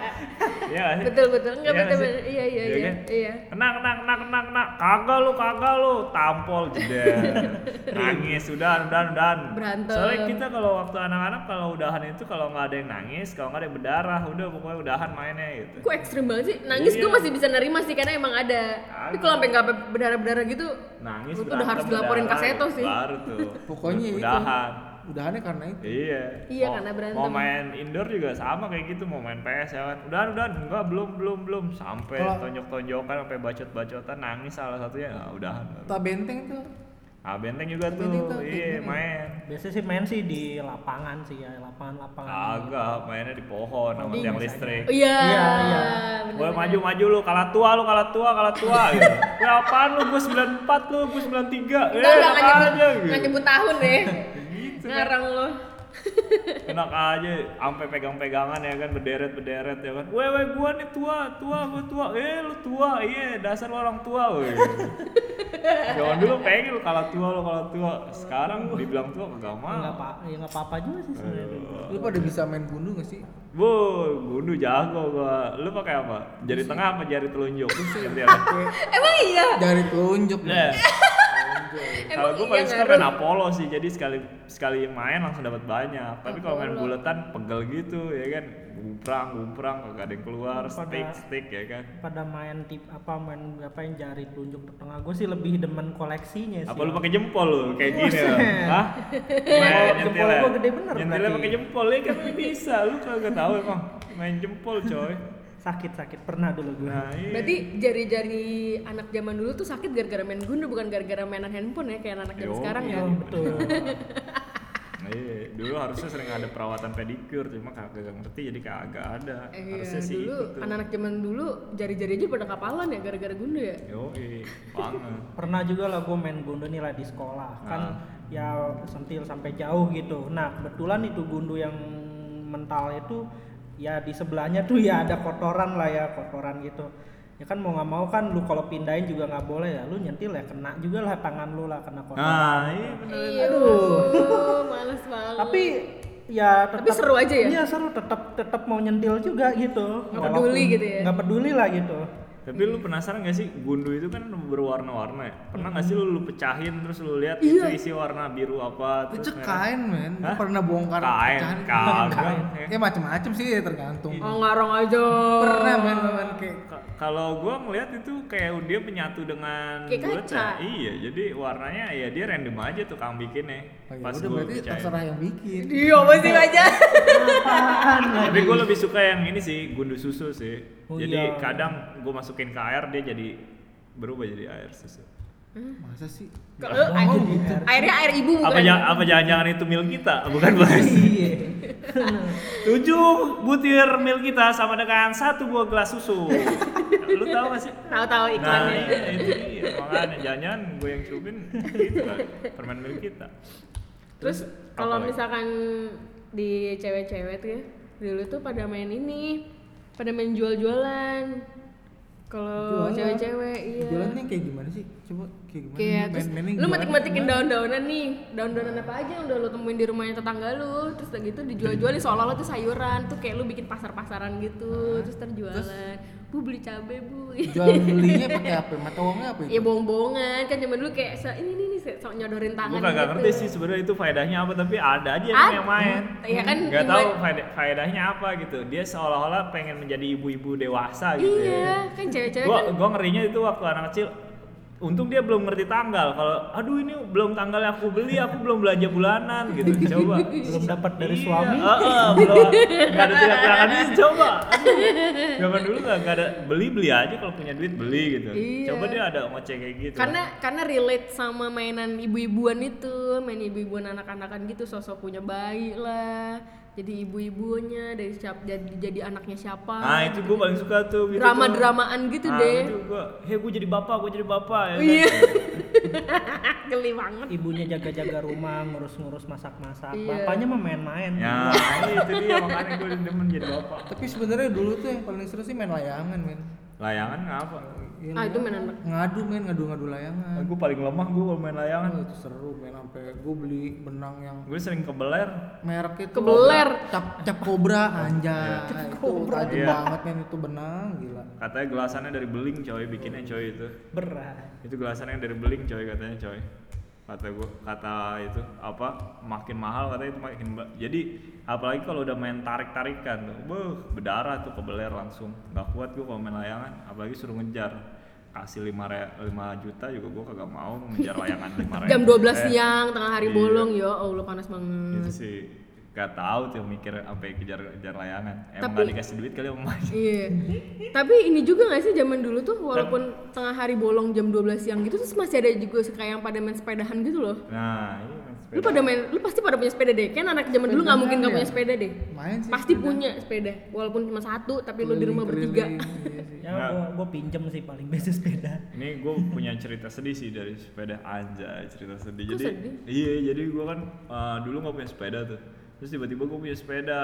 Iya nggak sih?
Betul betul. Enggak
Iya
betul.
nggak
betul. Iya iya
Iya
iya.
kan?
Iya.
kena kena kena kena kena kagak lu kagak lu tampol jeder nangis udahan udahan udahan
Berantem.
soalnya kita kalau waktu anak-anak kalau udahan itu kalau nggak ada yang nangis kalau nggak ada yang berdarah udah pokoknya udahan mainnya gitu
Kok ekstrim banget sih? Nangis
Iya.
gue masih bisa nerima sih karena emang ada. Tapi kalau sampai nggak berdarah-berdarah gitu,
nangis
Lu tuh udah harus
berantem,
dilaporin
berdarah,
kaseto sih.
baru tuh
Pokoknya itu.
udahan
udahannya karena itu
Iya.
Iya,
Mau-
karena berantem.
Mau main indoor juga sama kayak gitu, mau main PS ya kan. Udah, udah, enggak belum, belum, belum sampai
Kalau-
tonjok-tonjokan, sampai bacot-bacotan, nangis salah satunya. Ah, udahan.
tak benteng tuh
Ah, benteng juga
Tak
tuh.
Benteng tuh,
Iya,
benteng.
main.
Biasanya sih main sih di lapangan sih ya, lapangan-lapangan.
Agak mainnya di pohon sama
Di-
tiang listrik.
Oh, iya.
Iya, iya.
bener,
Gue
bener.
maju maju lu kalah tua lu kalah tua kalah tua gitu. Gue apaan lu gue 94 lu gue 93. Eh
Enggak, enggak
enak
nggak nyebut,
aja
nggak
gitu.
nyebut tahun deh.
Gitu kan.
Ngarang lo.
Enak aja sampai pegang-pegangan ya kan berderet-berderet ya kan. Weh weh gua nih tua, tua gua tua. Eh lu tua. Iya, dasar lu orang tua weh. Jangan dulu pengen lu kalah tua lu kalah tua. Sekarang dibilang tua
Enggak
kagak mau.
apa, ya enggak apa-apa juga sih sebenarnya.
lu pada bisa main gundu gak sih
Bu, gundu jago gua. Lu pakai apa? Jari tengah apa jari telunjuk? Seperti apa?
Emang iya.
dari telunjuk
ya, Nah,
Emang
kalau gue
iya
paling suka
ngaruh.
main Apollo sih, jadi sekali sekali main langsung dapat banyak. Tapi kalau main
Apollo.
buletan pegel gitu ya kan, gumprang gumprang kagak ada yang keluar, stick stick ya kan.
Pada main tip apa main apa yang jari telunjuk ke tengah gue sih lebih demen koleksinya sih.
Apa lu pakai jempol lu kayak gini?
Buset.
lu? Hah?
Jempol-
Main
jempol
nyentilnya.
gua gede bener
Nyentilnya
berarti.
pakai jempol ya kan lu bisa, lu kagak tahu emang main jempol coy.
Sakit-sakit pernah dulu gue.
Nah, iya.
Berarti jari-jari anak zaman dulu tuh sakit gara-gara main gundu bukan gara-gara mainan handphone ya kayak anak zaman
Yo,
sekarang
iya,
ya.
Kan betul.
Iya, dulu harusnya sering ada perawatan pedikur, cuma kagak ngerti jadi kagak ada.
Eh,
harusnya
Iya,
sih gitu.
dulu
itu tuh.
anak-anak zaman dulu jari-jari aja pada kapalan ya gara-gara gundu ya.
Yo, banget.
pernah juga lah gue main gundu nih lah di sekolah kan
Ah.
ya sentil sampai jauh gitu nah kebetulan itu gundu yang mental itu ya di sebelahnya tuh ya ada kotoran lah ya kotoran gitu ya kan mau nggak mau kan lu kalau pindahin juga nggak boleh ya lu nyentil ya kena juga lah tangan lu lah kena kotoran
Nah, iya bener.
Iya, males banget.
tapi ya tetap,
Tapi seru aja ya?
iya seru tetap tetap mau nyentil juga gitu
Nggak peduli
Walaupun
gitu ya?
nggak peduli lah gitu
Tapi lu penasaran gak sih gundu itu kan berwarna-warna ya? Pernah gak sih lu, lu pecahin terus lu lihat
Iya.
itu isi warna biru apa
itu
terus merah?
kain men Gua
Hah?
pernah bongkar
Kain,
pecahan.
kagak. Iya.
ya macem-macem sih tergantung
oh, ngarang aja.
pernah main main kayak
Ka- Kalau gua ngeliat itu kayak dia menyatu dengan
Kayak
bulatnya.
kaca.
Iya, jadi warnanya ya dia random aja tuh kang bikinnya.
Oh, ya
Pas
udah
gua
berarti
pecahin.
terserah yang bikin
Iya, apa sih aja?
apaan
Tapi gua lebih suka yang ini sih, gundu susu sih.
Oh, iya.
jadi kadang gua masukin ke air dia jadi berubah jadi air susu.
masa sih
Kalau air, airnya air ibu bukan.
gitu. Apa ya? ja- apa jangan-jangan itu mil kita? Bukan, Mas.
iya
7 butir mil kita sama dengan satu buah gelas susu. Lu tahu gak sih?
Tahu-tahu
Nah,
iklannya.
iya, itu dia. Makanya jangan gue yang cubin gitu kan. Permen mil kita.
Terus kalau
apa lagi?
misalkan di cewek-cewek tuh ya, dulu tuh pada main ini, pada main jual-jualan. Kalau
Jualan.
cewek-cewek iya.
Jualannya kayak gimana sih? Coba kayak gimana?
Kayak terus
Main-mainin
lu
jualan
metik-metikin
gimana?
daun-daunan nih, daun-daunan apa aja yang udah lu temuin di rumahnya tetangga lu, terus udah gitu dijual-jualin seolah-olah tuh sayuran, tuh kayak lu bikin pasar-pasaran gitu, terus terjualan. Bu beli cabe bu.
Jual belinya pakai apa? Mata uangnya apa itu?
ya bohong-bohongan kan zaman dulu kayak se- ini nih nih se- sok nyodorin tangan
Gue kagak
gitu.
ngerti sih sebenarnya itu faedahnya apa tapi ada aja emang yang main.
Iya kan?
Gak
gimana-
tahu faed- faedahnya apa gitu. Dia seolah-olah pengen menjadi ibu-ibu dewasa gitu.
Iya,
ya.
kan cewek-cewek
gua
kan
gua ngerinya itu waktu anak kecil untung dia belum ngerti tanggal kalau aduh ini belum tanggalnya aku beli aku belum belanja bulanan gitu coba
belum dapat dari
Iya,
suami
heeh, belum nggak ada tidak kelakan ini coba Aduh, zaman dulu nggak nggak ada beli beli aja kalau punya duit beli gitu
Iya.
coba dia ada ngoceh kayak gitu
karena karena relate sama mainan ibu-ibuan itu, main ibu-ibuan anak-anakan gitu, sosok punya bayi lah, jadi ibu-ibunya dari siap, jadi jadi anaknya siapa.
nah itu gue paling suka tuh gitu tuh.
drama-dramaan gitu
Nah,
deh.
itu gue hei gue jadi bapak gue jadi bapak ya kan?
Iya. Geli banget.
Iya.
ibunya jaga-jaga rumah, ngurus-ngurus masak-masak.
Iya.
Bapaknya mah main-main.
ya itu dia makanya gue demen jadi bapak
Tapi sebenarnya dulu tuh yang paling seru sih main layangan, men.
layangan ngapa
Iya,
Ah, itu mainan anak.
Ngadu, men, ngadu-ngadu layangan.
gue Eh, paling lemah gue kalau main layangan
Oh, itu seru, men, sampai gue beli benang yang
gue sering kebeler
mereknya itu
Kebeler.
cap cap kobra anjay itu tajam
Iya.
banget men itu benang gila
Katanya gelasannya dari beling coy, bikinnya coy itu.
Berat.
Itu gelasannya dari beling coy katanya coy. Kata gua, kata itu apa makin mahal katanya itu makin ba- jadi apalagi kalau udah main tarik-tarikan tuh, beuh, berdarah tuh kebeler langsung. Nggak kuat gua kalau main layangan, apalagi suruh ngejar. kasih 5 juta juga gue kagak mau ngejar layangan 5 ribu
Jam 12
Eh,
siang, tengah hari
iya.
bolong, ya Allah panas banget.
itu sih gak tahu tuh mikir sampai kejar-kejar layangan emang
Tapi-
gak dikasih duit kali sama Mas.
Iya. Tapi ini juga gak sih zaman dulu tuh walaupun tengah hari bolong jam 12 siang gitu terus masih ada juga suka yang pada main sepedahan gitu loh.
nah iya main
Lu
sepeda.
pada main, lu pasti pada punya sepeda deh. Kan anak zaman dulu nggak mungkin nggak punya sepeda deh.
Main sih
Pasti
sepeda.
punya sepeda, walaupun cuma satu tapi lu di rumah bertiga.
ya
Nah.
gua, gua pinjem sih paling biasa sepeda
ini gue punya cerita sedih sih dari sepeda anjay cerita sedih
Kok
jadi
sedih?
iya jadi gue kan uh, dulu nggak punya sepeda tuh terus tiba-tiba gue punya sepeda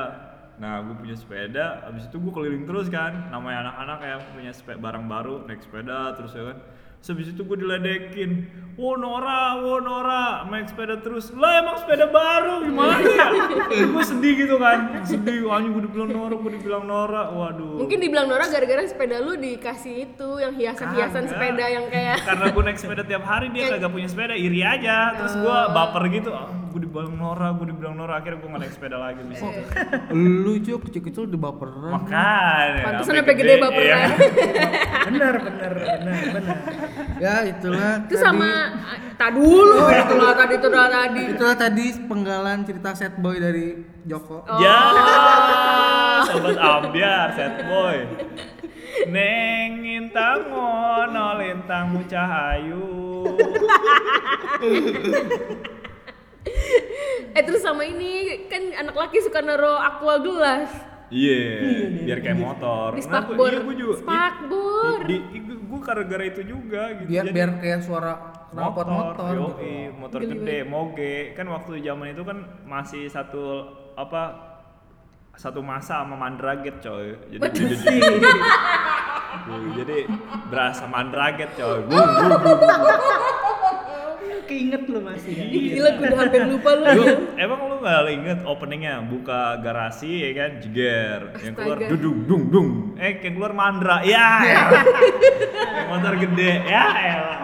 nah gue punya sepeda abis itu gue keliling terus kan namanya anak-anak yang punya sepe- barang baru naik sepeda terus ya kan terus abis itu gue diledekin wo Nora wo Nora naik sepeda terus lah emang sepeda baru gimana ya gue sedih gitu kan sedih anjing gue dibilang Nora gue dibilang Nora waduh
Mungkin dibilang Nora gara-gara sepeda lu dikasih itu yang hiasan-hiasan
Kagak.
sepeda yang kayak
karena gue naik sepeda tiap
Eh.
hari dia kagak punya sepeda iri aja terus gue baper gitu oh, gue dibilang Nora gue dibilang Nora akhirnya gue gak naik sepeda
Eh.
lagi di situ
Lu cok kecil-kecil udah baperan.
makanya
pantesan sampai gede
iya.
baperan.
bener bener bener bener
Ya itulah.
Itu
tadi- Oh, iya.
sama tak dulu, itu lah tadi itu lah tadi.
Itulah tadi penggalan cerita set boy dari Joko.
Oh.
ya sobat ambiar set boy Neng intang ngono lintangmu cahayu
Eh terus sama ini kan anak laki suka naro aqua gelas
Iya, biar kayak motor.
di
Nah, gua-
spakbor.
iya, gua juga.
Spakbor.
Di, gue gara-gara itu juga gitu.
Biar
Jadi-
biar kayak suara knalpot motor.
yoi,
gitu.
motor
Geli
gede moge kan waktu zaman itu kan masih satu apa satu masa sama mandraget coy jadi jadi, jadi, jadi berasa mandraget coy Wuh, wuh, wuh.
keinget lu masih ya?
Gila gue udah hampir lupa lu.
Lu, emang lu gak inget openingnya buka garasi ya kan jeger yang keluar
Astaga.
dudung dung dung eh yang keluar mandra ya elah. motor gede ya elah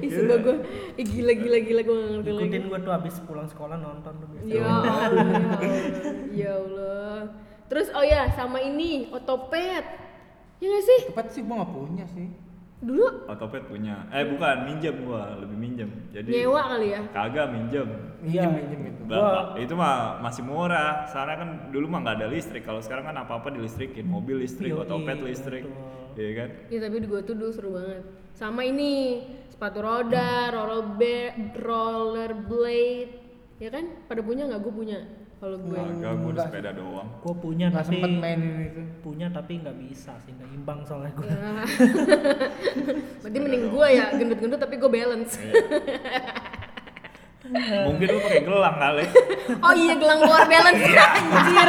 Ih sumpah gue Ih gila gila gila gue gak ngerti lagi
ikutin gua tuh abis pulang sekolah nonton tuh biasa.
Ya Allah ya Allah. Ya Allah Terus oh ya sama ini otopet Ya gak sih?
Tepat gitu. sih gua nggak punya sih.
Dulu
otopet punya eh bukan minjem gua lebih minjem jadi
nyewa kali ya
Kagak minjem.
Iya.
Minjem minjem itu.
Bapak, itu mah masih murah. Soalnya kan dulu mah nggak ada listrik. Kalau sekarang kan apa-apa dilistrikin. Mobil listrik,
Yoi,
otopet listrik.
betul.
Iya kan?
Ya tapi gue tuh dulu seru banget Sama ini sepatu roda, rollerblade, rollerblade Ya kan? Pada punya gak? Gue punya kalau gue
Kagak, gua udah sepeda doang.
gua punya
Nggak
tapi
sempet mainin itu.
punya tapi nggak bisa sih nggak imbang soalnya gua
Ya. Berarti mending gue ya gendut-gendut tapi gue
Iya.
balance.
Mungkin lu pakai gelang kali.
Oh iya gelang luar balance anjir.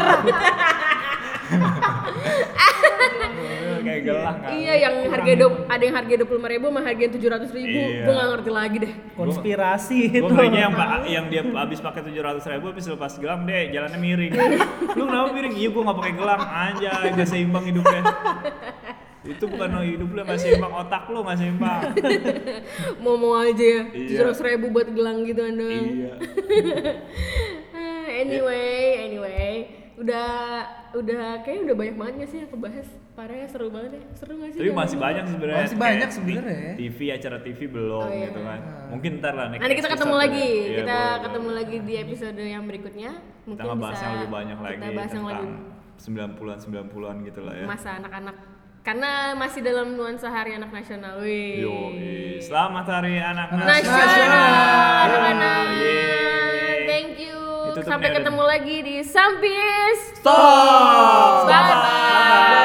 Kayak gelang kali.
iya yang harga do, ada yang harga 25.000 ribu sama harga yang 700.000 ribu.
Iya.
Gue gak ngerti lagi deh.
konspirasi
Gue
itu
kayaknya yang, pa- yang dia habis pakai tujuh ratus ribu, habis lepas gelang deh, jalannya miring. lu kenapa miring? Iya, gue nggak pakai gelang aja, gak seimbang hidupnya. Itu bukan hidup lu, gak seimbang otak lu, gak seimbang.
Mau mau aja ya.
Iya.
700.000 ribu buat gelang gitu anda.
iya.
Ah, anyway, anyway, udah udah kayaknya udah banyak banget gak sih yang kebahas. Parahnya seru banget ya. Seru gak sih?
Tapi
jalan
masih
ini?
banyak sebenarnya.
Masih banyak
Kayak
sebenarnya.
di- TV acara TV belum
Oh, iya.
gitu kan. Mungkin ntar lah next
Nanti kita
episode
ketemu
ya.
lagi.
Iya,
kita
boleh,
ketemu
boleh.
lagi di episode yang berikutnya. Mungkin
Kita ngebahas
bisa
yang lebih banyak lagi
Kita bahas yang
tentang
lagi
90-an 90-an gitu lah ya.
masa anak-anak karena masih dalam nuansa hari anak nasional. Wih.
Yo, selamat hari anak
Nasional anak-anak.
Yeay.
Thank you.
Ditutup
Sampai
nih, Arin.
ketemu lagi di Sampis.
Stop.
Bye bye.